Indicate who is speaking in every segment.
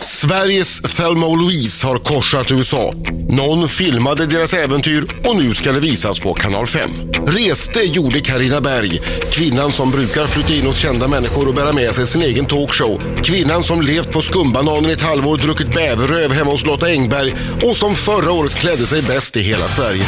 Speaker 1: Sveriges Thelma och Louise har korsat USA. Någon filmade deras äventyr och nu ska det visas på Kanal 5. Reste gjorde Karina Berg, kvinnan som brukar flytta in hos kända människor och bära med sig sin egen talkshow. Kvinnan som levt på skumbananer i ett halvår, druckit bäverröv hemma hos Lotta Engberg och som förra året klädde sig bäst i hela Sverige.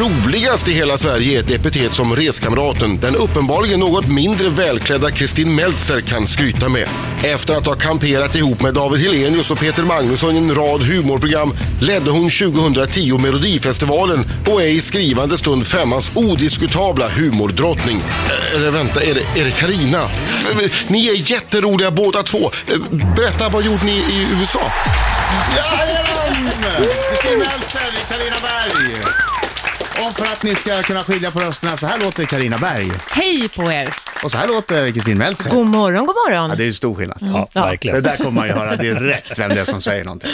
Speaker 1: Roligast i hela Sverige är ett epitet som reskamraten, den uppenbarligen något mindre välklädda Kristin Meltzer kan skryta med. Efter att ha kamperat ihop med David Hellenius och Peter Magnusson i en rad humorprogram ledde hon 2010 Melodifestivalen och är i skrivande stund femmans odiskutabla humordrottning. Eh, Eller vänta, är det, är det Carina? Eh, Ni är jätteroliga båda två. Eh, Berätta, vad gjorde ni i USA?
Speaker 2: Jajamän! Kristin Meltzer, Carina Berg. Och för att ni ska kunna skilja på rösterna, så här låter Carina Berg
Speaker 3: Hej på er!
Speaker 2: och så här låter Kristin Meltzer.
Speaker 3: God morgon, god morgon.
Speaker 2: Ja, det är ju stor skillnad.
Speaker 4: Ja,
Speaker 2: Det
Speaker 3: Ja.
Speaker 4: verkligen.
Speaker 2: där kommer man ju höra direkt vem det är som säger någonting.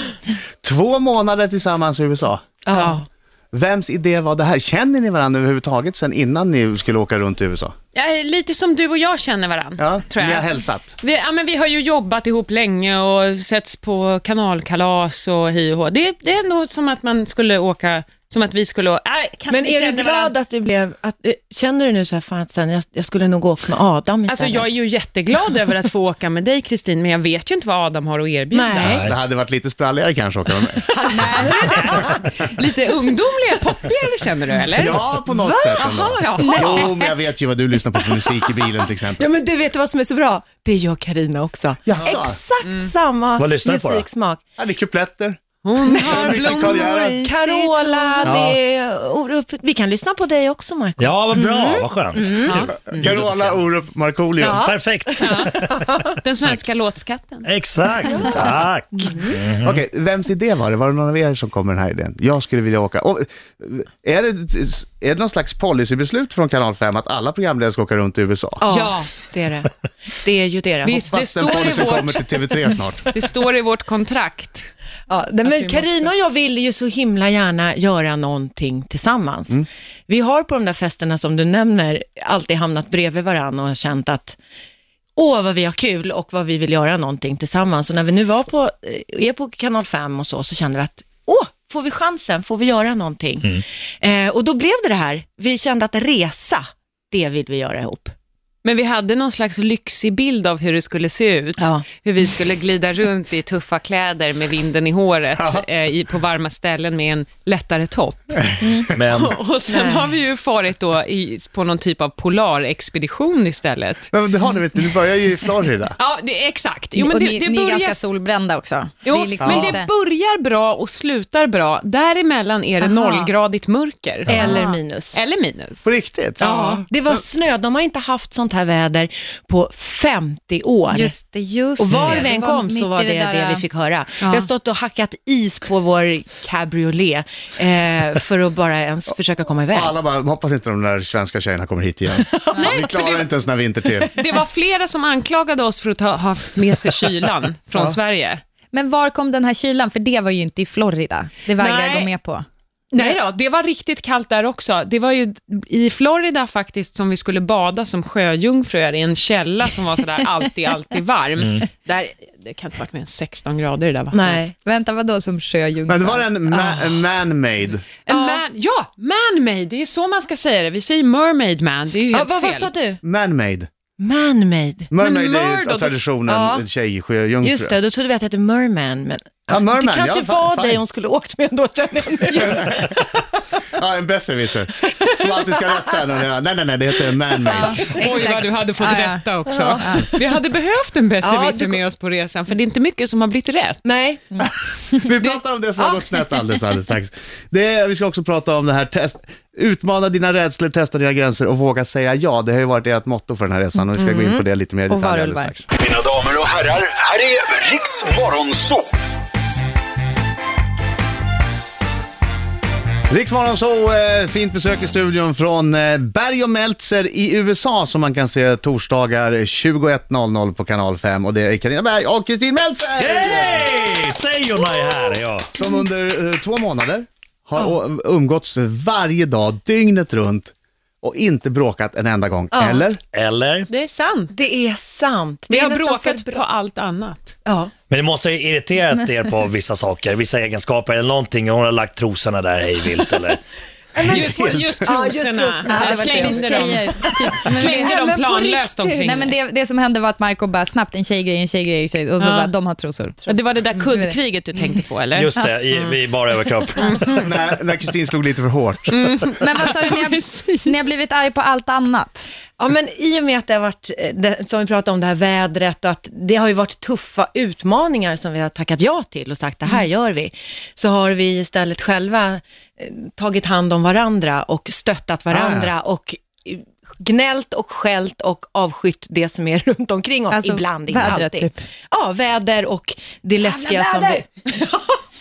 Speaker 2: Två månader tillsammans i USA.
Speaker 3: Ja.
Speaker 2: Vems idé var det här? Känner ni varandra överhuvudtaget sen innan ni skulle åka runt i USA?
Speaker 5: Ja, lite som du och jag känner varandra.
Speaker 2: Ja,
Speaker 5: tror jag.
Speaker 2: ni har hälsat.
Speaker 5: Vi, ja, men vi har ju jobbat ihop länge och setts på kanalkalas och hi och hå. Det, det är ändå som att man skulle åka, som att vi skulle... Äh, kanske
Speaker 3: Men
Speaker 5: vi
Speaker 3: är du
Speaker 5: känner
Speaker 3: glad
Speaker 5: varandra.
Speaker 3: att det blev, att, eh, känner du nu så här, fan sen, jag, jag skulle nog åka med Adam istället?
Speaker 5: Alltså jag är ju jätteglad över att få åka med dig Kristin, men jag vet ju inte vad Adam har att erbjuda.
Speaker 3: Nej.
Speaker 2: Det hade varit lite spralligare kanske att åka med mig.
Speaker 5: Lite ungdomliga, poppigare känner du eller?
Speaker 2: Ja, på något sätt ändå.
Speaker 5: Jaha, jaha.
Speaker 2: Jo, men jag vet ju vad du lyssnar på för musik i bilen till exempel.
Speaker 3: Ja men du vet du vad som är så bra? Det gör Karina också.
Speaker 2: Jaså?
Speaker 3: Exakt
Speaker 5: Mm.
Speaker 3: samma
Speaker 4: Vad lyssnar du på då?
Speaker 3: musiksmak.
Speaker 2: Ja, det är kupletter.
Speaker 5: Hon
Speaker 2: Det är
Speaker 5: har
Speaker 2: mycket
Speaker 5: blommor.
Speaker 2: karriär.
Speaker 3: Carola, det är Orup. Vi kan lyssna på dig också Marco.
Speaker 4: Ja, vad bra,
Speaker 6: Mm.
Speaker 4: vad skönt. Kul.
Speaker 2: Mm. Carola Orup Markoolio.
Speaker 3: Ja.
Speaker 4: Perfekt.
Speaker 5: Den svenska låtskatten.
Speaker 6: Mm.
Speaker 4: Exakt, tack.
Speaker 2: Okej, vems idé var det? Var det någon av er som kom med den här idén? Jag skulle vilja åka. Och, är, det, är det någon slags policybeslut från Kanal 5 att alla programledare ska åka runt i USA?
Speaker 5: Ja.
Speaker 3: det är det. Det är ju deras.
Speaker 5: Visst. det
Speaker 2: Fast den
Speaker 5: står i
Speaker 2: policyn
Speaker 5: vårt-
Speaker 2: kommer till TV3 snart.
Speaker 5: Det står i vårt kontrakt.
Speaker 3: Ja, nej,
Speaker 5: Alltså, vi
Speaker 3: men
Speaker 5: måste-
Speaker 3: Carina och jag vill ju så himla gärna göra någonting tillsammans. Vi har på de där festerna som du nämner alltid hamnat bredvid varandra och känt att åh vad vi har kul och vad vi vill göra någonting tillsammans. Och när vi nu var på, eh, är på kanal 5 och så, så kände vi att åh, får vi chansen, får vi göra någonting? Eh, och då blev det det här, vi kände att resa, det vill vi göra ihop.
Speaker 5: Men vi hade någon slags lyxig bild av hur det skulle se ut.
Speaker 3: Ja.
Speaker 5: Hur vi skulle glida runt i tuffa kläder med vinden i håret eh, i, på varma ställen med en lättare topp.
Speaker 4: Men
Speaker 5: Och sen
Speaker 3: Nej.
Speaker 5: har vi ju farit då i, på någon typ av polarexpedition istället.
Speaker 2: Men det har ni vet, ni börjar ju i Florida.
Speaker 5: Ja, det, exakt. Jo, men
Speaker 6: och
Speaker 5: det,
Speaker 6: ni,
Speaker 5: det
Speaker 6: ni är
Speaker 5: börjar-
Speaker 6: ganska solbrända också.
Speaker 5: Jo,
Speaker 6: det är liksom
Speaker 5: men
Speaker 6: inte-
Speaker 5: det börjar bra och slutar bra. Däremellan är det nollgradigt mörker.
Speaker 3: Eller minus.
Speaker 5: Eller minus.
Speaker 2: På riktigt?
Speaker 3: Ja, det var snö. De har inte haft sånt här väder på 50 år.
Speaker 6: Just det, just
Speaker 3: Och var
Speaker 6: det.
Speaker 3: vi
Speaker 6: Det
Speaker 3: än kom
Speaker 6: mitt
Speaker 3: så var
Speaker 6: i
Speaker 3: det det,
Speaker 6: där,
Speaker 3: vi fick höra. Vi har stått och hackat is på vår cabriolet eh, för att bara ens försöka komma iväg.
Speaker 2: Och alla bara, hoppas inte de där svenska tjejerna kommer hit igen.
Speaker 5: Nej,
Speaker 2: Vi
Speaker 5: för det,
Speaker 2: klarar inte en sån här vinter till.
Speaker 5: det var flera som anklagade oss för att ha haft med sig kylan från Sverige.
Speaker 6: Men var kom den här kylan? För det var ju inte i Florida. Det vägrar jag
Speaker 5: Nej.
Speaker 6: gå med på.
Speaker 5: Nej då, det var riktigt kallt där också. Det var ju i Florida faktiskt som vi skulle bada som sjöjungfrur i en källa som var sådär alltid, alltid varm. Där, det kan inte ha varit mer än 16 grader i det där vattnet.
Speaker 3: Mm. Nej.
Speaker 6: Vänta, vadå som sjöjungfru?
Speaker 2: Men det var en, ma- en man-made.
Speaker 5: En man, ja, man-made, det är så man ska säga det. Vi säger mermaid man, det är ju
Speaker 3: Ja,
Speaker 5: helt
Speaker 3: vad, vad
Speaker 5: fel.
Speaker 3: sa du?
Speaker 2: Man-made.
Speaker 3: Man-made.
Speaker 2: Man-made
Speaker 5: Men
Speaker 2: är ju
Speaker 5: murder-
Speaker 2: av traditionen
Speaker 3: Ja.
Speaker 2: en tjejsjöjungfru.
Speaker 3: Just det, då trodde vi att det hette Merman. Men,
Speaker 2: Ja, merman,
Speaker 3: det kanske
Speaker 2: ja, fa-
Speaker 3: var
Speaker 2: fine.
Speaker 3: dig hon skulle åkt med ändå, känner jag nu.
Speaker 2: Ja, en besserwisser. Som alltid ska rätta en. Nej, nej, nej, det heter man-made.
Speaker 5: Oj, vad du hade fått
Speaker 6: Ja, ja.
Speaker 5: rätta också. Vi hade behövt en
Speaker 3: Ja,
Speaker 5: besserwisser
Speaker 3: du-
Speaker 5: med oss på resan, för det är inte mycket som har blivit rätt.
Speaker 3: Nej,
Speaker 2: Vi pratar om det som har gått snett alldeles, alldeles strax. Det, är- vi ska också prata om det här, test, utmana dina rädslor, testa dina gränser och våga säga ja. Det har ju varit ert motto för den här resan och vi ska gå in på det lite mer i
Speaker 6: Mm. Och
Speaker 2: detalj alldeles
Speaker 6: varulvar.
Speaker 2: strax.
Speaker 7: Mina damer och herrar, här är Riks Morgonzoo!
Speaker 2: Riksmorgon så eh, fint besök i studion från eh, Berg och Meltzer i USA som man kan se torsdagar 21.00 på kanal 5 och det är Carina Berg och Kristin Meltzer!
Speaker 4: Hej! Tjejorna är här, ja.
Speaker 2: Som under eh, två månader har å- umgåtts varje dag, dygnet runt och inte bråkat en enda gång. Eller?
Speaker 4: Eller?
Speaker 5: Det är sant.
Speaker 3: Det är sant.
Speaker 5: Vi
Speaker 3: är
Speaker 5: har
Speaker 3: nästan
Speaker 5: bråkat
Speaker 3: för bra.
Speaker 5: på allt annat.
Speaker 3: Ja.
Speaker 4: Men det måste ha irriterat er på vissa saker, vissa egenskaper eller någonting. Hon har lagt trosorna där hej vilt eller...
Speaker 5: Just, just
Speaker 3: Ja, just
Speaker 5: trosorna.
Speaker 3: trosorna.
Speaker 5: Jag
Speaker 6: det var
Speaker 5: slängde
Speaker 6: typiskt
Speaker 5: dem.
Speaker 6: tjejer. Typ. Men det-
Speaker 5: Slängde
Speaker 3: Nej,
Speaker 5: dem
Speaker 3: men på
Speaker 5: planlöst
Speaker 3: riktigt.
Speaker 5: omkring
Speaker 6: Nej, men
Speaker 5: mig.
Speaker 6: det, det som hände var att Marco bara snabbt, en tjejgrej, en tjejgrej, en tjejgrej och så
Speaker 5: Ja.
Speaker 6: bara, de har trosor.
Speaker 5: Men Det var det där kuddkriget du tänkte på, eller?
Speaker 4: Just det, i, i bara överkropp.
Speaker 2: när när Kristin slog lite för hårt.
Speaker 5: Mm.
Speaker 6: Men vad sa du, ni har,
Speaker 5: Precis.
Speaker 6: ni har blivit arg på allt annat?
Speaker 3: Ja, men i och med att det har varit, eh, det, som vi pratade om, det här vädret och att det har ju varit tuffa utmaningar som vi har tackat ja till och sagt det
Speaker 6: Mm.
Speaker 3: här gör vi, så har vi istället själva eh, tagit hand om varandra och
Speaker 6: Ah,
Speaker 3: stöttat varandra och eh, gnällt och skällt och avskytt det som är runt omkring oss
Speaker 6: Alltså,
Speaker 3: ibland, inte
Speaker 6: vädret,
Speaker 3: alltid.
Speaker 6: typ. Ah,
Speaker 3: Ja, väder och det läskiga som vi...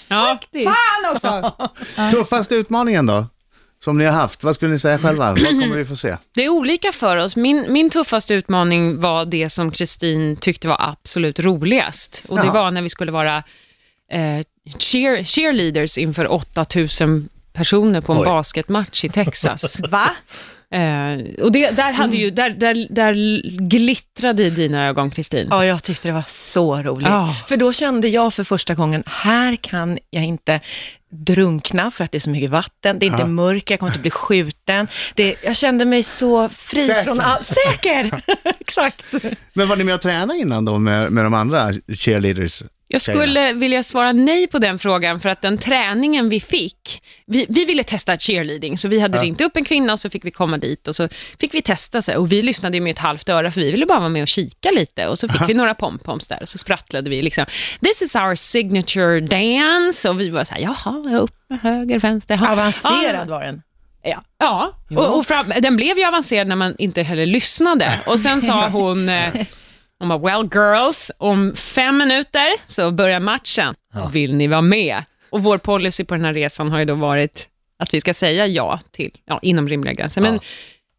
Speaker 5: Ja.
Speaker 6: Fan också!
Speaker 2: Tuffaste utmaningen då? Som ni har haft, vad skulle ni säga själva? Vad kommer vi få se?
Speaker 5: Det är olika för oss. Min, min tuffaste utmaning var det som Kristin tyckte var absolut roligast. Och Det
Speaker 2: Jaha.
Speaker 5: var när vi skulle vara eh, cheer, cheerleaders inför 8000 personer på en
Speaker 4: Oj.
Speaker 5: basketmatch i Texas.
Speaker 6: Va?
Speaker 5: eh, och det, där, hade ju, där, där, där glittrade i dina ögon, Kristin.
Speaker 3: Ja, jag tyckte det var så roligt.
Speaker 5: Ja.
Speaker 3: För då kände jag för första gången, här kan jag inte drunkna för att det är så mycket vatten, det är inte mörker, jag kommer inte bli skjuten. Det, jag kände mig så fri
Speaker 2: Säker.
Speaker 3: från allt. Säker! Exakt.
Speaker 2: Men var ni med och tränade innan då med, med de andra cheerleaders?
Speaker 5: Jag
Speaker 2: tjejerna?
Speaker 5: skulle vilja svara nej på den frågan för att den träningen vi fick, vi, vi ville testa cheerleading så vi hade ringt upp en kvinna och så fick vi komma dit och så fick vi testa så här, och vi lyssnade ju med ett halvt öra för vi ville bara vara med och kika lite och så fick vi några pompoms där och så sprattlade vi liksom this is our signature dance och vi var så här jaha, upp, höger, vänster, ja.
Speaker 3: Avancerad var den.
Speaker 5: Ja, ja. Och, och fram, den blev ju avancerad när man inte heller lyssnade. Och sen sa hon, eh, hon bara, well girls, om fem minuter så börjar matchen. Vill ni vara med? Och vår policy på den här resan har ju då varit att vi ska säga ja till, ja, inom rimliga gränser. Men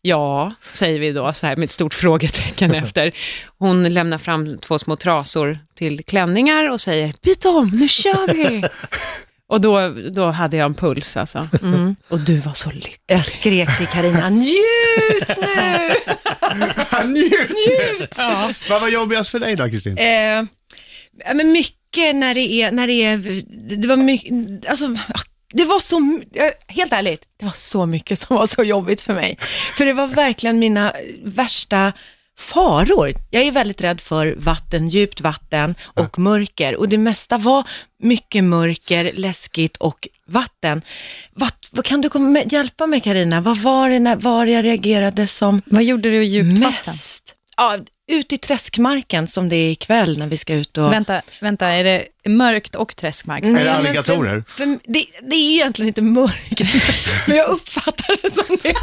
Speaker 5: ja. säger vi då så här med ett stort frågetecken efter. Hon lämnar fram två små trasor till klänningar och säger, byt om, nu kör vi! Och då, då hade jag en puls alltså. Och du var så lycklig.
Speaker 3: Jag skrek till Carina, njut nu!
Speaker 2: Njut! Njut! Vad var jobbigast för dig då, Kristin?
Speaker 3: Eh, ja, men mycket när det är, när det är, det var mycket, alltså, det var så, my- eh, helt ärligt, det var så mycket som var så jobbigt för mig. För det var verkligen mina värsta faror. Jag är väldigt rädd för vatten, djupt vatten och mörker. Och det mesta var mycket mörker, läskigt och vatten. Vad, vad kan du komma med, hjälpa mig Karina? Vad var det när, var jag reagerade som
Speaker 6: Vad gjorde du i djupt vatten?
Speaker 3: mest? Ja, ut i träskmarken som det är ikväll när vi ska ut och...
Speaker 6: Vänta, vänta, är det mörkt och träskmark?
Speaker 2: Är det
Speaker 3: men
Speaker 2: alligatorer?
Speaker 3: För, för, det, det är ju egentligen inte mörkt, men jag uppfattar det som det.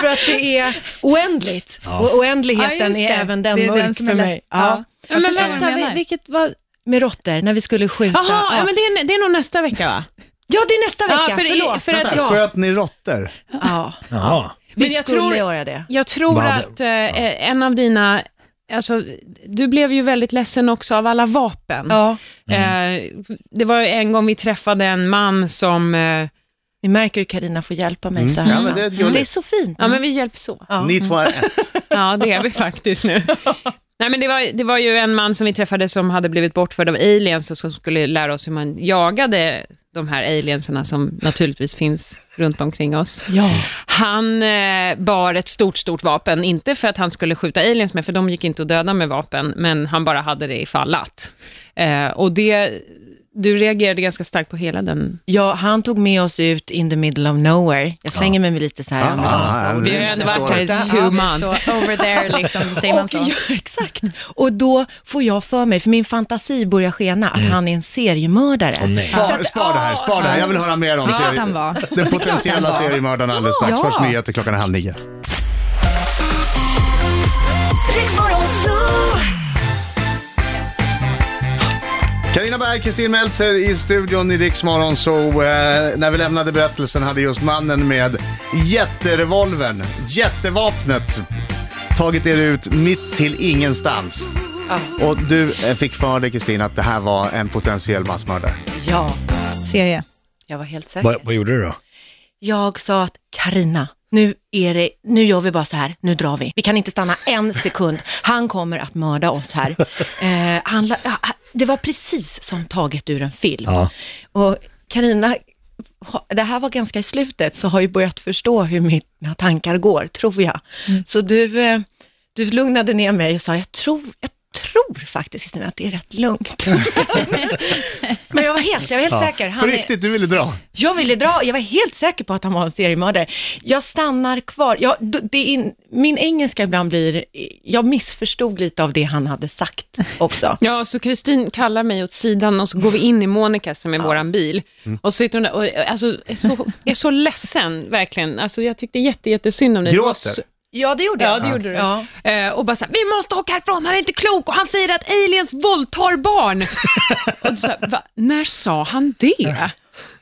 Speaker 3: För att det är oändligt. Och
Speaker 6: Ja,
Speaker 3: oändlighets
Speaker 6: just
Speaker 3: är
Speaker 6: det.
Speaker 3: även den
Speaker 6: Det är
Speaker 3: mörk
Speaker 6: den som
Speaker 3: för
Speaker 6: är
Speaker 3: mig.
Speaker 6: läsk- ja.
Speaker 5: Ja, men
Speaker 6: förstår vad du
Speaker 5: vänta,
Speaker 6: menar.
Speaker 5: vi- vilket var...
Speaker 3: Med råttor, när vi skulle skjuta.
Speaker 5: Jaha, ja.
Speaker 3: ja.
Speaker 5: men det, är, det är nog nästa vecka va?
Speaker 3: ja, det är nästa
Speaker 5: Ja,
Speaker 3: vecka.
Speaker 5: för det-
Speaker 3: Förlåt.
Speaker 5: för att-
Speaker 2: Vänta,
Speaker 3: ja.
Speaker 2: Sköt ni råttor?
Speaker 3: Ja.
Speaker 4: Jaha.
Speaker 3: Vi
Speaker 5: Men jag
Speaker 3: skulle
Speaker 5: tror-
Speaker 3: göra det.
Speaker 5: Jag tror
Speaker 4: Vad hade-
Speaker 5: att eh, en av dina... Alltså, du blev ju väldigt ledsen också av alla vapen.
Speaker 3: Ja.
Speaker 5: Eh, det var ju en gång vi träffade en man som... Eh,
Speaker 3: Ni märker hur Carina får hjälpa mig så här.
Speaker 2: Mm. Ja, men det är gulligt.
Speaker 3: det är så fint.
Speaker 5: Mm. Ja, men vi hjälps åt.
Speaker 3: Ja.
Speaker 2: Ni två är ett.
Speaker 5: Ja, det är vi faktiskt nu. Nej, men det, var, det var ju en man som vi träffade som hade blivit bortförd av aliens och som skulle lära oss hur man jagade de här alienserna som naturligtvis finns runt omkring oss.
Speaker 3: Ja.
Speaker 5: Han eh, bar ett stort, stort vapen. Inte för att han skulle skjuta aliens med, för de gick inte att döda med vapen, men han bara hade det ifall att. Eh, och det, du reagerade ganska starkt på hela den.
Speaker 3: Ja, han tog med oss ut in the middle of nowhere. Jag slänger mig med lite så här amerikansk
Speaker 2: ja,
Speaker 5: Vi har
Speaker 2: jag
Speaker 5: ändå
Speaker 2: förstår
Speaker 5: varit här i
Speaker 2: det.
Speaker 5: two months.
Speaker 6: Så over there liksom, så säger man
Speaker 3: Och,
Speaker 6: så.
Speaker 3: ja, exakt. Och då får jag för mig, för min fantasi börjar skena, att
Speaker 2: Mm.
Speaker 3: han är en seriemördare.
Speaker 2: Spar, spar det här, spar det här. Jag vill höra mer om
Speaker 6: klart
Speaker 2: serie-
Speaker 6: han var.
Speaker 2: den potentiella seriemördaren alldeles strax.
Speaker 6: Ja.
Speaker 2: Först nyheter klockan är halv nio. Carina Berg, Kristin Meltzer i studion i Rix Morgon Zoo. Eh, när vi lämnade berättelsen hade just mannen med jätterevolvern, jättevapnet, tagit er ut mitt till ingenstans. Och du eh, fick för dig Kristin att det här var en potentiell massmördare.
Speaker 3: Ja,
Speaker 6: Serie.
Speaker 3: jag var helt säker.
Speaker 4: Vad, vad gjorde du då?
Speaker 3: Jag sa att Karina, nu, är det, nu gör vi bara så här, nu drar vi. Vi kan inte stanna en sekund, han kommer att mörda oss här. Eh, han, la- ah, ah, det var precis som taget ur en film.
Speaker 4: Ja.
Speaker 3: Och Karina, ha- det här var ganska i slutet, så har ju börjat förstå hur mina tankar går, tror jag. Så du, eh, du lugnade ner mig och sa, jag tror, jag tror faktiskt Kristina att det är rätt lugnt. Men jag var helt, jag var helt säker.
Speaker 2: På
Speaker 3: Han är,
Speaker 2: riktigt, du ville dra.
Speaker 3: jag ville dra, jag var helt säker på att han var en seriemördare. Jag stannar kvar. Jag, d- det är in, min engelska ibland blir, jag missförstod lite av det han hade sagt också.
Speaker 5: Ja, så Kristin kallar mig åt sidan och så går vi in i Monica som är våran bil. Och så sitter hon där och eh, alltså, är, så, är så ledsen, verkligen. Alltså, jag tyckte jätte, jättesynd om dig. Det var
Speaker 2: Gråter.
Speaker 5: så-
Speaker 3: Ja, det gjorde
Speaker 5: Ja,
Speaker 3: jag.
Speaker 5: det gjorde du.
Speaker 3: Ja.
Speaker 5: Eh, och bara så här, vi måste åka härifrån, han är inte klok och han säger att aliens våldtar barn. och så här, Va? När sa han det?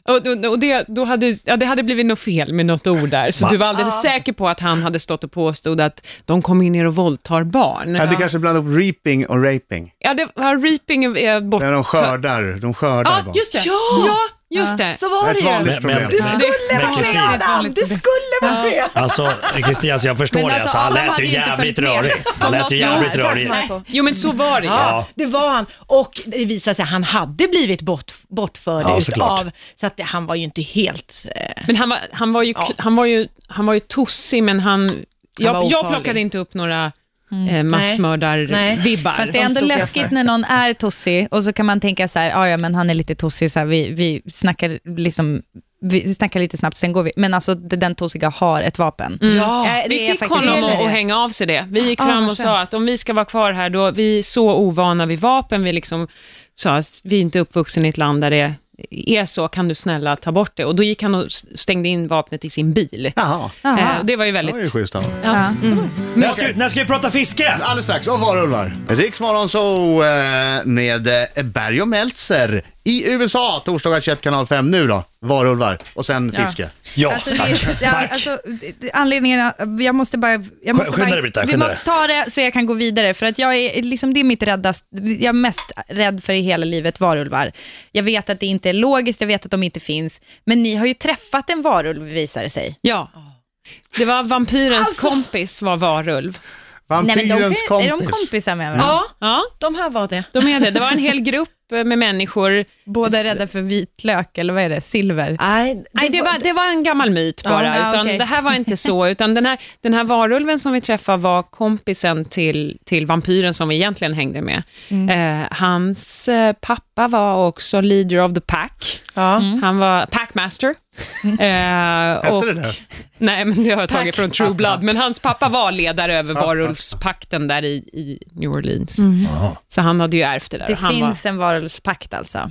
Speaker 5: Och, och, och det, då hade, ja, det hade blivit något fel med något ord där, så du var alldeles säker på att han hade stått och påstod att de kommer in ner och våldtar barn.
Speaker 2: Jag hade kanske blandat ihop reaping och raping.
Speaker 5: Ja, det var reaping är bort...
Speaker 2: När de skördar, de skördar
Speaker 5: Ja,
Speaker 2: barn.
Speaker 5: just det.
Speaker 3: Ja.
Speaker 5: just det.
Speaker 3: Så var
Speaker 2: Ett
Speaker 3: det ju.
Speaker 2: vanligt-
Speaker 4: Men, men,
Speaker 2: Du
Speaker 3: Du skulle
Speaker 4: men
Speaker 3: vara
Speaker 4: Kristin,
Speaker 3: med Adam, du skulle vara med.
Speaker 4: alltså, Kristin, alltså jag förstår
Speaker 6: Men
Speaker 4: det.
Speaker 6: alltså,
Speaker 4: Alltså, han
Speaker 6: Adam
Speaker 4: lät
Speaker 6: hade
Speaker 4: ju
Speaker 6: ju inte
Speaker 4: jävligt
Speaker 6: följt med.
Speaker 4: rörig. Han lät ju jävligt
Speaker 6: Tack,
Speaker 4: rörig.
Speaker 6: Marco.
Speaker 5: Jo, men så var det ju.
Speaker 4: Ja.
Speaker 3: Det var han. Och det visade sig, han hade blivit bort, bortförd
Speaker 4: Ja, såklart.
Speaker 3: utav, så att han var ju inte helt... Eh,
Speaker 5: Men han var, han, var ju, kl- han, var ju, han var ju tossig, men han... Jag,
Speaker 3: var
Speaker 5: jag
Speaker 3: ofarlig.
Speaker 5: plockade inte upp några eh, massmördar-vibbar.
Speaker 6: Mm. Fast det är ändå
Speaker 3: stod jag
Speaker 6: läskigt när någon är tossig och så kan man tänka så här, "Ah, ja men han är lite tossig, så här, vi, vi, snackar liksom, vi snackar lite snabbt, sen går vi. Men alltså det- den tossiga har ett vapen.
Speaker 5: Mm.
Speaker 3: Ja.
Speaker 6: Eh, det
Speaker 5: Vi
Speaker 6: är
Speaker 5: fick
Speaker 6: faktiskt-
Speaker 5: honom att, att hänga av sig det. Vi gick
Speaker 6: Ah,
Speaker 5: fram
Speaker 6: vad
Speaker 5: och sa
Speaker 6: skönt.
Speaker 5: att om vi ska vara kvar här, då, vi är så ovana vid vapen, vi liksom sa att vi är inte uppvuxen i ett land där det är så, kan du snälla ta bort det? Och då gick han och s- stängde in vapnet i sin bil.
Speaker 2: Jaha,
Speaker 5: Eh, och det var ju
Speaker 2: det var ju
Speaker 5: väldigt...
Speaker 2: schysst av honom.
Speaker 4: När ska, vi- när ska vi prata fiske?
Speaker 2: Alldeles strax, om varulvar. Riksmorgon så eh, med eh, Berg och Meltzer i USA, torsdagar 21 kanal 5. Nu då, varulvar och sen fiske.
Speaker 4: Ja,
Speaker 6: Alltså,
Speaker 4: tack.
Speaker 6: det, ja,
Speaker 4: tack.
Speaker 6: Alltså, det- det- anledningen, jag måste bara... Jag måste
Speaker 4: skynda
Speaker 6: bara,
Speaker 4: dig, Britta,
Speaker 6: vi
Speaker 4: skynda
Speaker 6: måste ta det så jag kan gå vidare, för att jag är, liksom, det är mitt räddast, jag är mest rädd för i hela livet varulvar. Jag vet att det inte är logiskt, jag vet att de inte finns, men ni har ju träffat en varulv visar det sig.
Speaker 5: Ja. Det var vampyrens
Speaker 6: Alltså-
Speaker 5: kompis var varulv.
Speaker 6: men de,
Speaker 2: Vampyrens
Speaker 6: kan- Är de
Speaker 2: kompis.
Speaker 6: kompisar med varandra?
Speaker 3: ja,
Speaker 5: Ja,
Speaker 3: de här var det.
Speaker 5: de är det. Det var en hel grupp eh, med människor.
Speaker 6: Båda är rädda för vitlök, eller vad är det? Silver?
Speaker 3: Nej, det,
Speaker 5: Nej, det var, det var en gammal myt bara.
Speaker 6: Ja, ja,
Speaker 5: utan
Speaker 6: okej.
Speaker 5: Det här var inte så. Utan den, här, den här varulven som vi träffade var kompisen till, till vampyren som vi egentligen hängde med.
Speaker 6: Mm.
Speaker 5: Eh, hans eh, pappa var också leader of the pack. Mm.
Speaker 3: Ja.
Speaker 5: Han var packmaster. Eh,
Speaker 2: Hette
Speaker 5: och,
Speaker 2: det det?
Speaker 5: nej, men det har jag tagit från True Blood. Men hans pappa var ledare över varulvspakten där i, i New Orleans. Så han hade ju ärvt det där.
Speaker 6: Mm. Det
Speaker 5: och han
Speaker 6: finns en varulvspakt alltså.
Speaker 5: Var,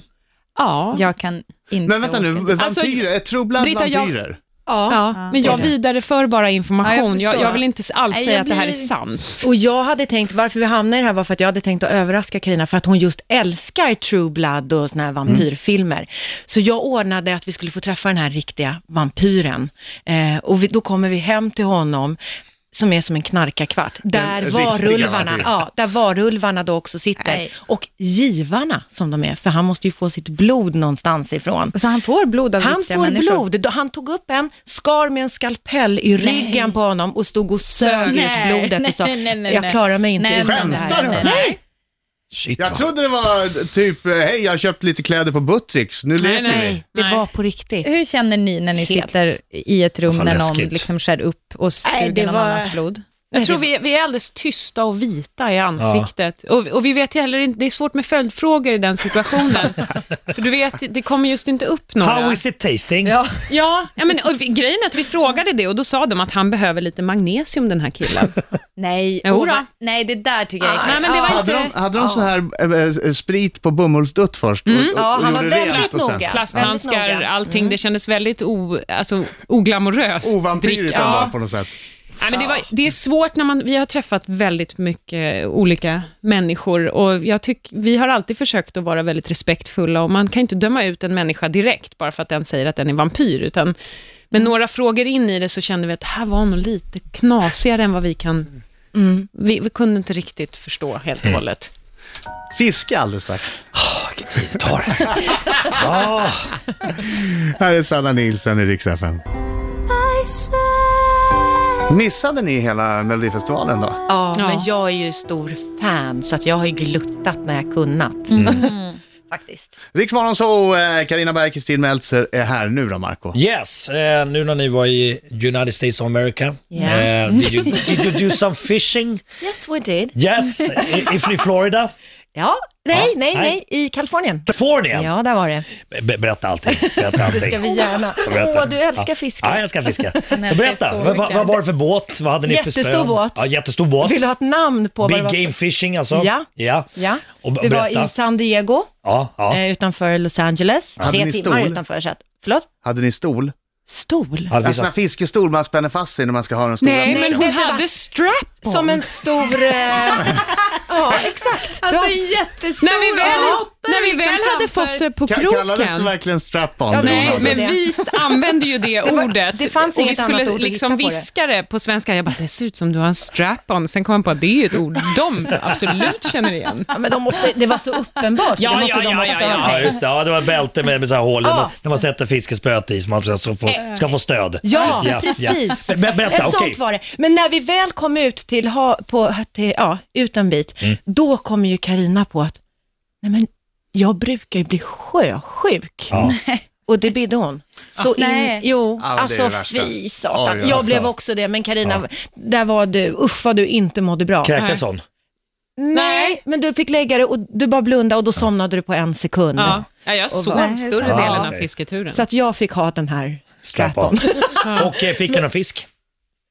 Speaker 5: ja,
Speaker 6: Jag kan inte
Speaker 2: Men vänta nu,
Speaker 6: åka dit.
Speaker 2: vampyrer,
Speaker 5: Alltså,
Speaker 2: är trubblad
Speaker 5: Britta, jag-
Speaker 2: vampyrer?
Speaker 5: Ja, men jag
Speaker 6: det är det.
Speaker 5: vidareför bara
Speaker 6: Ja, jag
Speaker 5: information.
Speaker 6: förstår.
Speaker 5: jag, jag, vill inte alls
Speaker 6: Nej,
Speaker 5: säga
Speaker 6: jag
Speaker 5: att det här är
Speaker 6: blir-
Speaker 5: sant.
Speaker 3: Och jag hade tänkt, varför vi hamnade i det här var för att jag hade tänkt att överraska Karina för att hon just älskar True Blood och såna här
Speaker 2: Mm.
Speaker 3: vampyrfilmer. Så jag ordnade att vi skulle få träffa den här riktiga vampyren. Eh, och vi, då kommer vi hem till honom som är som en knarkarkvart, där
Speaker 2: riktiga
Speaker 3: varulvarna,
Speaker 2: vampyren.
Speaker 3: ja, där varulvarna då också sitter.
Speaker 6: Nej.
Speaker 3: Och givarna som de är, för han måste ju få sitt blod någonstans ifrån.
Speaker 6: Så han får blod av
Speaker 3: Han
Speaker 6: riktiga
Speaker 3: får
Speaker 6: människor?
Speaker 3: blod. Han tog upp en, skar med en skalpell i ryggen på honom och stod och sög ut
Speaker 6: Nej,
Speaker 3: blodet
Speaker 6: nej,
Speaker 3: och sa,
Speaker 6: nej, nej, nej,
Speaker 3: jag
Speaker 6: nej.
Speaker 3: klarar mig inte
Speaker 6: Nej,
Speaker 3: utan det
Speaker 2: Skämtar
Speaker 3: här.
Speaker 2: du?
Speaker 3: Nej,
Speaker 4: Shit,
Speaker 2: Jag
Speaker 4: vad-
Speaker 2: trodde det var typ, eh, hej jag har köpt lite kläder på Buttricks, nu leker vi.
Speaker 5: nej.
Speaker 3: det
Speaker 5: Nej.
Speaker 3: var på riktigt.
Speaker 6: Hur känner ni när ni sitter i ett rum
Speaker 4: Fan,
Speaker 6: när någon
Speaker 4: läskigt.
Speaker 6: liksom skär upp och
Speaker 3: Nej, det
Speaker 6: suger någon
Speaker 3: var-
Speaker 6: annans blod?
Speaker 5: Jag tror vi, vi är alldeles tysta och vita i ansiktet. Och, och vi vet heller inte, det är svårt med följdfrågor i den situationen. För du vet, det kommer just inte upp några.
Speaker 4: How is it tasting?
Speaker 5: Ja, ja men, och vi, grejen är att vi frågade det och då sa de att han behöver lite magnesium den här killen.
Speaker 6: Nej,
Speaker 5: Jo
Speaker 6: åh,
Speaker 5: då.
Speaker 6: va- Ah, nej det där tycker jag är äckligt.
Speaker 5: Nej, men det var
Speaker 2: Hade de,
Speaker 5: inte...
Speaker 2: hade de så här eh, eh, sprit på bomullsdutt först? Och, och,
Speaker 3: Ja,
Speaker 2: och
Speaker 3: han var
Speaker 2: gjorde rent
Speaker 3: väldigt
Speaker 2: och sen-
Speaker 3: noga. Väldigt
Speaker 5: Plasthandskar,
Speaker 3: noga.
Speaker 5: allting. Det kändes väldigt o, alltså, oglamoröst.
Speaker 2: Ovampyrigt
Speaker 5: Dricka.
Speaker 2: ändå
Speaker 5: Ja.
Speaker 2: på något sätt.
Speaker 5: Nej, men det, var, det är svårt när man, vi har träffat väldigt mycket olika människor och jag tyck, vi har alltid försökt att vara väldigt respektfulla och man kan inte döma ut en människa direkt bara för att den säger att den är vampyr, utan men några frågor in i det så kände vi att det här var nog lite knasigare än vad vi kan... Vi, vi kunde inte riktigt förstå helt och hållet.
Speaker 2: Fiska alldeles strax.
Speaker 4: Tar.
Speaker 2: Här är Sanna Nilsson i Rix FM.
Speaker 8: I said
Speaker 2: Missade ni hela Melodifestivalen då?
Speaker 3: Ja,
Speaker 5: Ja.
Speaker 3: men jag är ju stor fan så att jag har ju gluttat när jag kunnat.
Speaker 6: Mm.
Speaker 4: Mm.
Speaker 3: Faktiskt.
Speaker 2: Riksmorgon så eh, Carina Berg, Kristin Meltzer är här nu då Marco.
Speaker 4: Yes, eh, nu när ni var i United States of America.
Speaker 3: Yeah.
Speaker 4: eh, did, you, did you do some fishing?
Speaker 3: Yes we did.
Speaker 4: Yes, i- ifrån Florida.
Speaker 3: Ja, nej,
Speaker 4: Ja,
Speaker 3: nej,
Speaker 4: nej.
Speaker 3: nej, i Kalifornien.
Speaker 4: Kalifornien.
Speaker 3: Ja, där var det.
Speaker 4: Be- berätta allting. Berätta allting.
Speaker 3: Ska vi gärna. Åh, du älskar
Speaker 4: Ja, jag
Speaker 3: fiske.
Speaker 4: älskar fiska. Så
Speaker 6: älskar
Speaker 4: berätta,
Speaker 6: så
Speaker 4: vad, vad
Speaker 6: mycket.
Speaker 4: vad var det för båt? Vad hade ni för
Speaker 3: Jättestor
Speaker 4: spön?
Speaker 3: båt.
Speaker 4: Ja, jättestor båt.
Speaker 3: Vill du ha ett namn på
Speaker 4: Big
Speaker 3: vad det var?
Speaker 4: game fishing alltså?
Speaker 3: Ja.
Speaker 4: ja.
Speaker 3: Ja,
Speaker 4: Och b-
Speaker 3: det var
Speaker 4: berätta.
Speaker 3: i San Diego
Speaker 4: Ja, ja.
Speaker 3: eh, utanför Los Angeles.
Speaker 2: Hade
Speaker 3: Tre
Speaker 2: ni
Speaker 3: timmar
Speaker 2: stol?
Speaker 3: utanför. Så att, förlåt?
Speaker 2: Hade ni stol?
Speaker 3: Stol?
Speaker 4: Ja, det
Speaker 2: En sån
Speaker 4: finns-
Speaker 2: här fiskestol man spänner fast sig när man ska ha den stora
Speaker 5: Nej,
Speaker 2: båten.
Speaker 5: men hon
Speaker 3: Vet du
Speaker 5: hade
Speaker 3: vad?
Speaker 5: strap on.
Speaker 3: Som en stor... Eh... ja, exakt.
Speaker 6: Alltså
Speaker 3: Du har-
Speaker 6: jättestor.
Speaker 5: när vi väl,
Speaker 6: alltså.
Speaker 5: när vi väl
Speaker 6: Liksom
Speaker 5: hade
Speaker 6: framför-
Speaker 5: fått det på
Speaker 2: Ka- Kallades det
Speaker 5: kroken.
Speaker 2: verkligen strap-on?
Speaker 3: Ja,
Speaker 2: det hon
Speaker 5: Nej,
Speaker 2: hade?
Speaker 5: men
Speaker 3: det.
Speaker 5: vi s- använde ju det,
Speaker 3: var-
Speaker 5: ordet.
Speaker 3: det fanns
Speaker 5: och vi
Speaker 3: inget
Speaker 5: skulle
Speaker 3: annat ord att
Speaker 5: liksom
Speaker 3: hitta på det.
Speaker 5: viska det på svenska. Jag bara, det ser ut som du har en strap-on. Sen kom jag på att det är ju ett ord de absolut känner igen.
Speaker 3: Ja, men de måste, det var så uppenbart. så
Speaker 5: Ja,
Speaker 3: det måste
Speaker 5: ja,
Speaker 3: de
Speaker 5: ja,
Speaker 3: också
Speaker 5: ja,
Speaker 3: ha
Speaker 5: ja.
Speaker 4: Ja,
Speaker 3: tänkt.
Speaker 4: just det. Ja, det var bälte med, med så här hål
Speaker 3: Ja. Eh.
Speaker 4: där man sätter fiskespöet i så man så får, ska få stöd.
Speaker 3: Ja, precis.
Speaker 4: Be- be- berätta,
Speaker 3: Ett
Speaker 4: okej.
Speaker 3: sånt var det. Men när vi väl kom ut till, ha, på, till ja, ut en bit,
Speaker 4: Mm.
Speaker 3: då kom ju Karina på att, nej men jag brukar ju bli sjösjuk.
Speaker 4: Ja.
Speaker 3: Och det bidde hon. Så in,
Speaker 6: Nej.
Speaker 3: jo,
Speaker 2: Ja, men det är
Speaker 3: alltså
Speaker 2: det värsta.
Speaker 3: fy satan.
Speaker 2: Oj,
Speaker 3: jag
Speaker 2: alltså.
Speaker 3: blev också det, men Karina, där var du, usch vad du inte mådde bra.
Speaker 4: Kräkas hon?
Speaker 3: Nej, men du fick lägga det och du bara blundade och då somnade du på en sekund.
Speaker 5: Ja. Ja, jag
Speaker 3: vad-
Speaker 5: sov större
Speaker 4: Ja,
Speaker 5: delen av
Speaker 4: okej.
Speaker 5: fisketuren.
Speaker 3: Så att jag fick ha den här
Speaker 4: Strap-on.
Speaker 3: strap-on.
Speaker 4: Och eh, fick du någon fisk?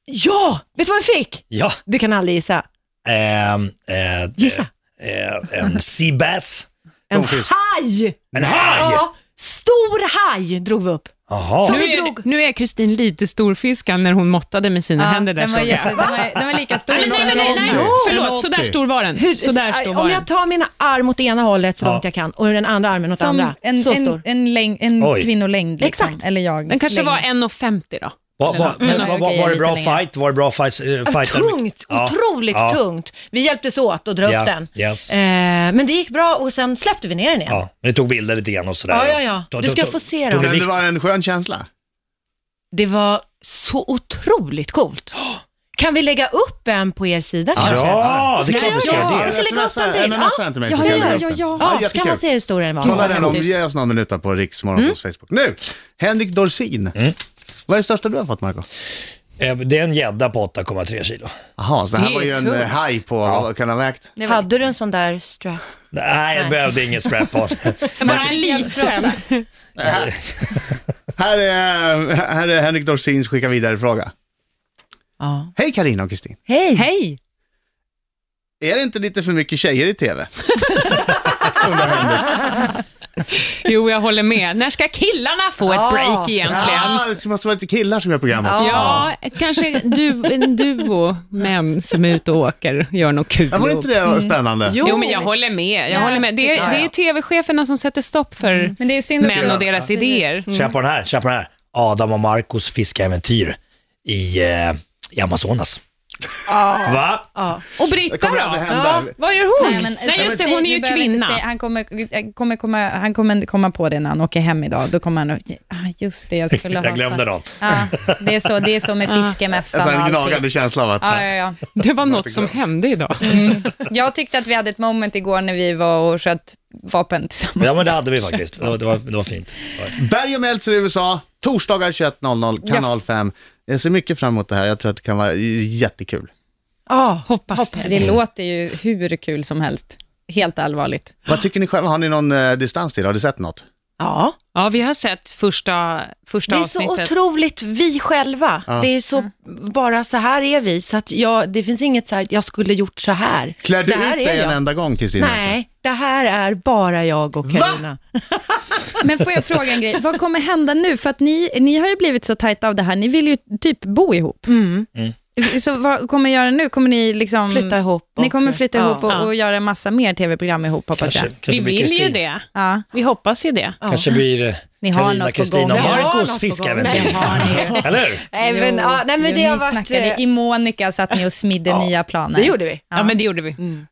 Speaker 3: ja, vet du vad vi fick?
Speaker 4: Ja.
Speaker 3: Du kan aldrig gissa.
Speaker 4: Ehm, eh,
Speaker 3: Gissa.
Speaker 4: eh, en sea bass.
Speaker 3: En haj!
Speaker 4: En haj!
Speaker 3: Ja, stor haj drog vi upp.
Speaker 4: Jaha.
Speaker 3: Så-
Speaker 5: nu,
Speaker 3: vi
Speaker 5: är,
Speaker 3: drog.
Speaker 5: nu är Kristin lite storfiskad när hon måttade med sina
Speaker 6: Ja,
Speaker 5: händer där.
Speaker 6: den, var
Speaker 5: så.
Speaker 6: jätte, den, var, den var lika stor
Speaker 5: Nej, men nej, men nej, nej.
Speaker 2: Jo,
Speaker 5: Förlåt, så där
Speaker 2: 180.
Speaker 5: stor var den.
Speaker 3: Hur-
Speaker 5: Så där stor
Speaker 3: om
Speaker 5: var den.
Speaker 3: jag tar mina arm åt ena hållet så
Speaker 4: Ja.
Speaker 3: långt jag kan och den andra armen åt
Speaker 6: Som
Speaker 3: andra.
Speaker 6: en,
Speaker 3: så stor.
Speaker 6: en, en, läng,
Speaker 4: Oj.
Speaker 6: en kvinnolängd. Liksom.
Speaker 3: Exakt.
Speaker 6: Eller jag.
Speaker 5: Den kanske
Speaker 6: längd.
Speaker 5: var 1,50 då.
Speaker 4: Va, va, men,
Speaker 6: Mm,
Speaker 4: va, va,
Speaker 6: okej,
Speaker 4: var det
Speaker 6: lite
Speaker 4: bra
Speaker 6: längre.
Speaker 4: fight? Var det bra fight? eh,
Speaker 3: Ja,
Speaker 4: fight
Speaker 3: tungt, otroligt
Speaker 4: Ja.
Speaker 3: tungt. Vi hjälptes åt att dra
Speaker 4: Ja,
Speaker 3: upp den.
Speaker 4: yes.
Speaker 3: Eh, men det gick bra och sen släppte vi ner den igen.
Speaker 4: Ja, men ni tog bilder lite grann och sådär.
Speaker 3: Ja, ja, ja.
Speaker 4: Tog-
Speaker 3: Du ska
Speaker 4: tog-
Speaker 3: få se
Speaker 4: tog ni
Speaker 3: dem.
Speaker 2: Men det
Speaker 4: vikt?
Speaker 2: var en skön känsla.
Speaker 3: Det var så otroligt coolt. Kan vi lägga upp en på er sida kanske?
Speaker 4: Ja, det är
Speaker 3: Nej,
Speaker 4: klart du ska
Speaker 3: ja,
Speaker 4: göra
Speaker 3: jag
Speaker 4: det.
Speaker 3: ska lägga upp en bild.
Speaker 2: Smsar den till mig så kan jag lägga upp den.
Speaker 3: Ja, så
Speaker 2: jättekul.
Speaker 3: kan man se Mm. hur stor den var.
Speaker 2: Kolla den om, ge oss någon minut där på Riksmorgons Facebook. Nu, Henrik Dorsin. Vad är det största du har fått Marco?
Speaker 4: Eh, Det är en gädda på 8,3 kilo.
Speaker 2: Jaha, så det här
Speaker 5: Det
Speaker 2: var ju
Speaker 5: är
Speaker 2: en
Speaker 5: tungt.
Speaker 2: eh, haj på, vad kan ha vägt?
Speaker 3: Hade du en sån där strap?
Speaker 4: Nej, jag behövde ingen strap-on.
Speaker 5: Bara en liten.
Speaker 2: Här är, här är Henrik Dorsins skicka vidare-fråga.
Speaker 3: Ja.
Speaker 2: Hej Karina och Kristin.
Speaker 3: Hej!
Speaker 5: Hej!
Speaker 2: Är det inte lite för mycket tjejer i tv?
Speaker 5: Jo, jag håller med. När ska killarna få ett
Speaker 3: Ja.
Speaker 5: break egentligen?
Speaker 2: Ja, det måste vara lite killar som gör programmet.
Speaker 5: Ja, kanske du, en duo män som är ute och åker och gör något kul.
Speaker 2: Ja, Var inte
Speaker 3: Mm.
Speaker 2: det spännande?
Speaker 5: Jo, men jag håller med. Jag håller med. Det, är, det är tv-cheferna som sätter stopp för
Speaker 6: Mm. Men det är synd
Speaker 5: män och deras idéer.
Speaker 4: Känn på den här, känn på den här. Adam och Marcos fiskeäventyr i, eh, i Amazonas.
Speaker 6: Ah.
Speaker 4: Va?
Speaker 5: Och Britta
Speaker 2: Det kommer
Speaker 5: då?
Speaker 2: aldrig hända.
Speaker 5: Ja, vad gör hon? Nej,
Speaker 6: Nej, men, alltså,
Speaker 5: just det, hon är ju
Speaker 6: Vi behöver inte
Speaker 5: kvinna.
Speaker 6: säga- han, kommer, eh, kommer, komma- han kommer inte komma på det när han åker hem idag. Då kommer han och, ah, just det, jag skulle ha
Speaker 4: Jag glömde
Speaker 6: sagt."
Speaker 4: någon.
Speaker 6: Ja, det, är så, det är så med
Speaker 2: En sån
Speaker 4: Alltså,
Speaker 6: fiskemässan och
Speaker 2: här
Speaker 6: allting.
Speaker 2: gnagande känsla av att...
Speaker 6: Ja, ja, ja.
Speaker 5: Det var något som hände idag.
Speaker 6: Jag tyckte att vi hade ett moment igår när vi var och sköt vapen tillsammans.
Speaker 4: Ja men det hade vi faktiskt. Det var, det var, det var fint.
Speaker 2: Berg och Meltzer i USA, torsdagar 21.00, kanal 5. Jag ser mycket fram emot det här, jag tror att det kan vara jättekul.
Speaker 3: Ja.
Speaker 5: Hoppas, det.
Speaker 6: Det låter ju hur kul som helst. Helt allvarligt.
Speaker 2: Vad tycker ni själva, har ni någon eh, distans till det? Har du sett något?
Speaker 3: ja.
Speaker 5: Ja, vi har sett första,
Speaker 3: Det
Speaker 5: första
Speaker 3: är så
Speaker 5: avsnittet.
Speaker 3: otroligt vi själva. Det är så,
Speaker 6: Mm.
Speaker 3: bara så här är vi. Så att jag, det finns inget så här, jag skulle gjort så här.
Speaker 2: Klär du
Speaker 3: det här
Speaker 2: ut dig
Speaker 3: är
Speaker 2: en
Speaker 3: jag.
Speaker 2: enda gång, Kristina? Meltzer?
Speaker 3: Nej, det här är bara jag och Carina.
Speaker 6: Men får jag fråga en grej? Vad kommer hända nu? För att ni, ni har ju blivit så tajta av det här. Ni vill ju typ bo ihop. Mm. Så vad kommer ni göra nu? Kommer ni liksom...
Speaker 3: Mm. Flytta ihop.
Speaker 6: Ni kommer flytta
Speaker 3: Ja.
Speaker 6: ihop och, och göra en massa mer tv-program ihop hoppas jag.
Speaker 4: Kanske,
Speaker 5: Vi
Speaker 4: kanske blir
Speaker 5: vill ju
Speaker 4: Kristin-
Speaker 5: det.
Speaker 6: Ja.
Speaker 5: Vi hoppas ju det.
Speaker 4: Kanske blir eh,
Speaker 6: Ni har något
Speaker 4: Carina,
Speaker 6: på
Speaker 4: Kristina
Speaker 6: gång.
Speaker 4: och
Speaker 6: Vi har
Speaker 3: något
Speaker 4: Marcos
Speaker 3: på gång.
Speaker 4: fiskeäventyr.
Speaker 3: Nej,
Speaker 6: har ni ju.
Speaker 4: Eller hur?
Speaker 3: Även,
Speaker 6: Jo,
Speaker 3: ja, nej, men
Speaker 6: jo,
Speaker 3: det har
Speaker 6: ni
Speaker 3: varit...
Speaker 6: snackade.
Speaker 3: eh,
Speaker 6: I Monica satt ni och smidde nya planer.
Speaker 3: Det gjorde vi.
Speaker 5: Ja, men det gjorde vi.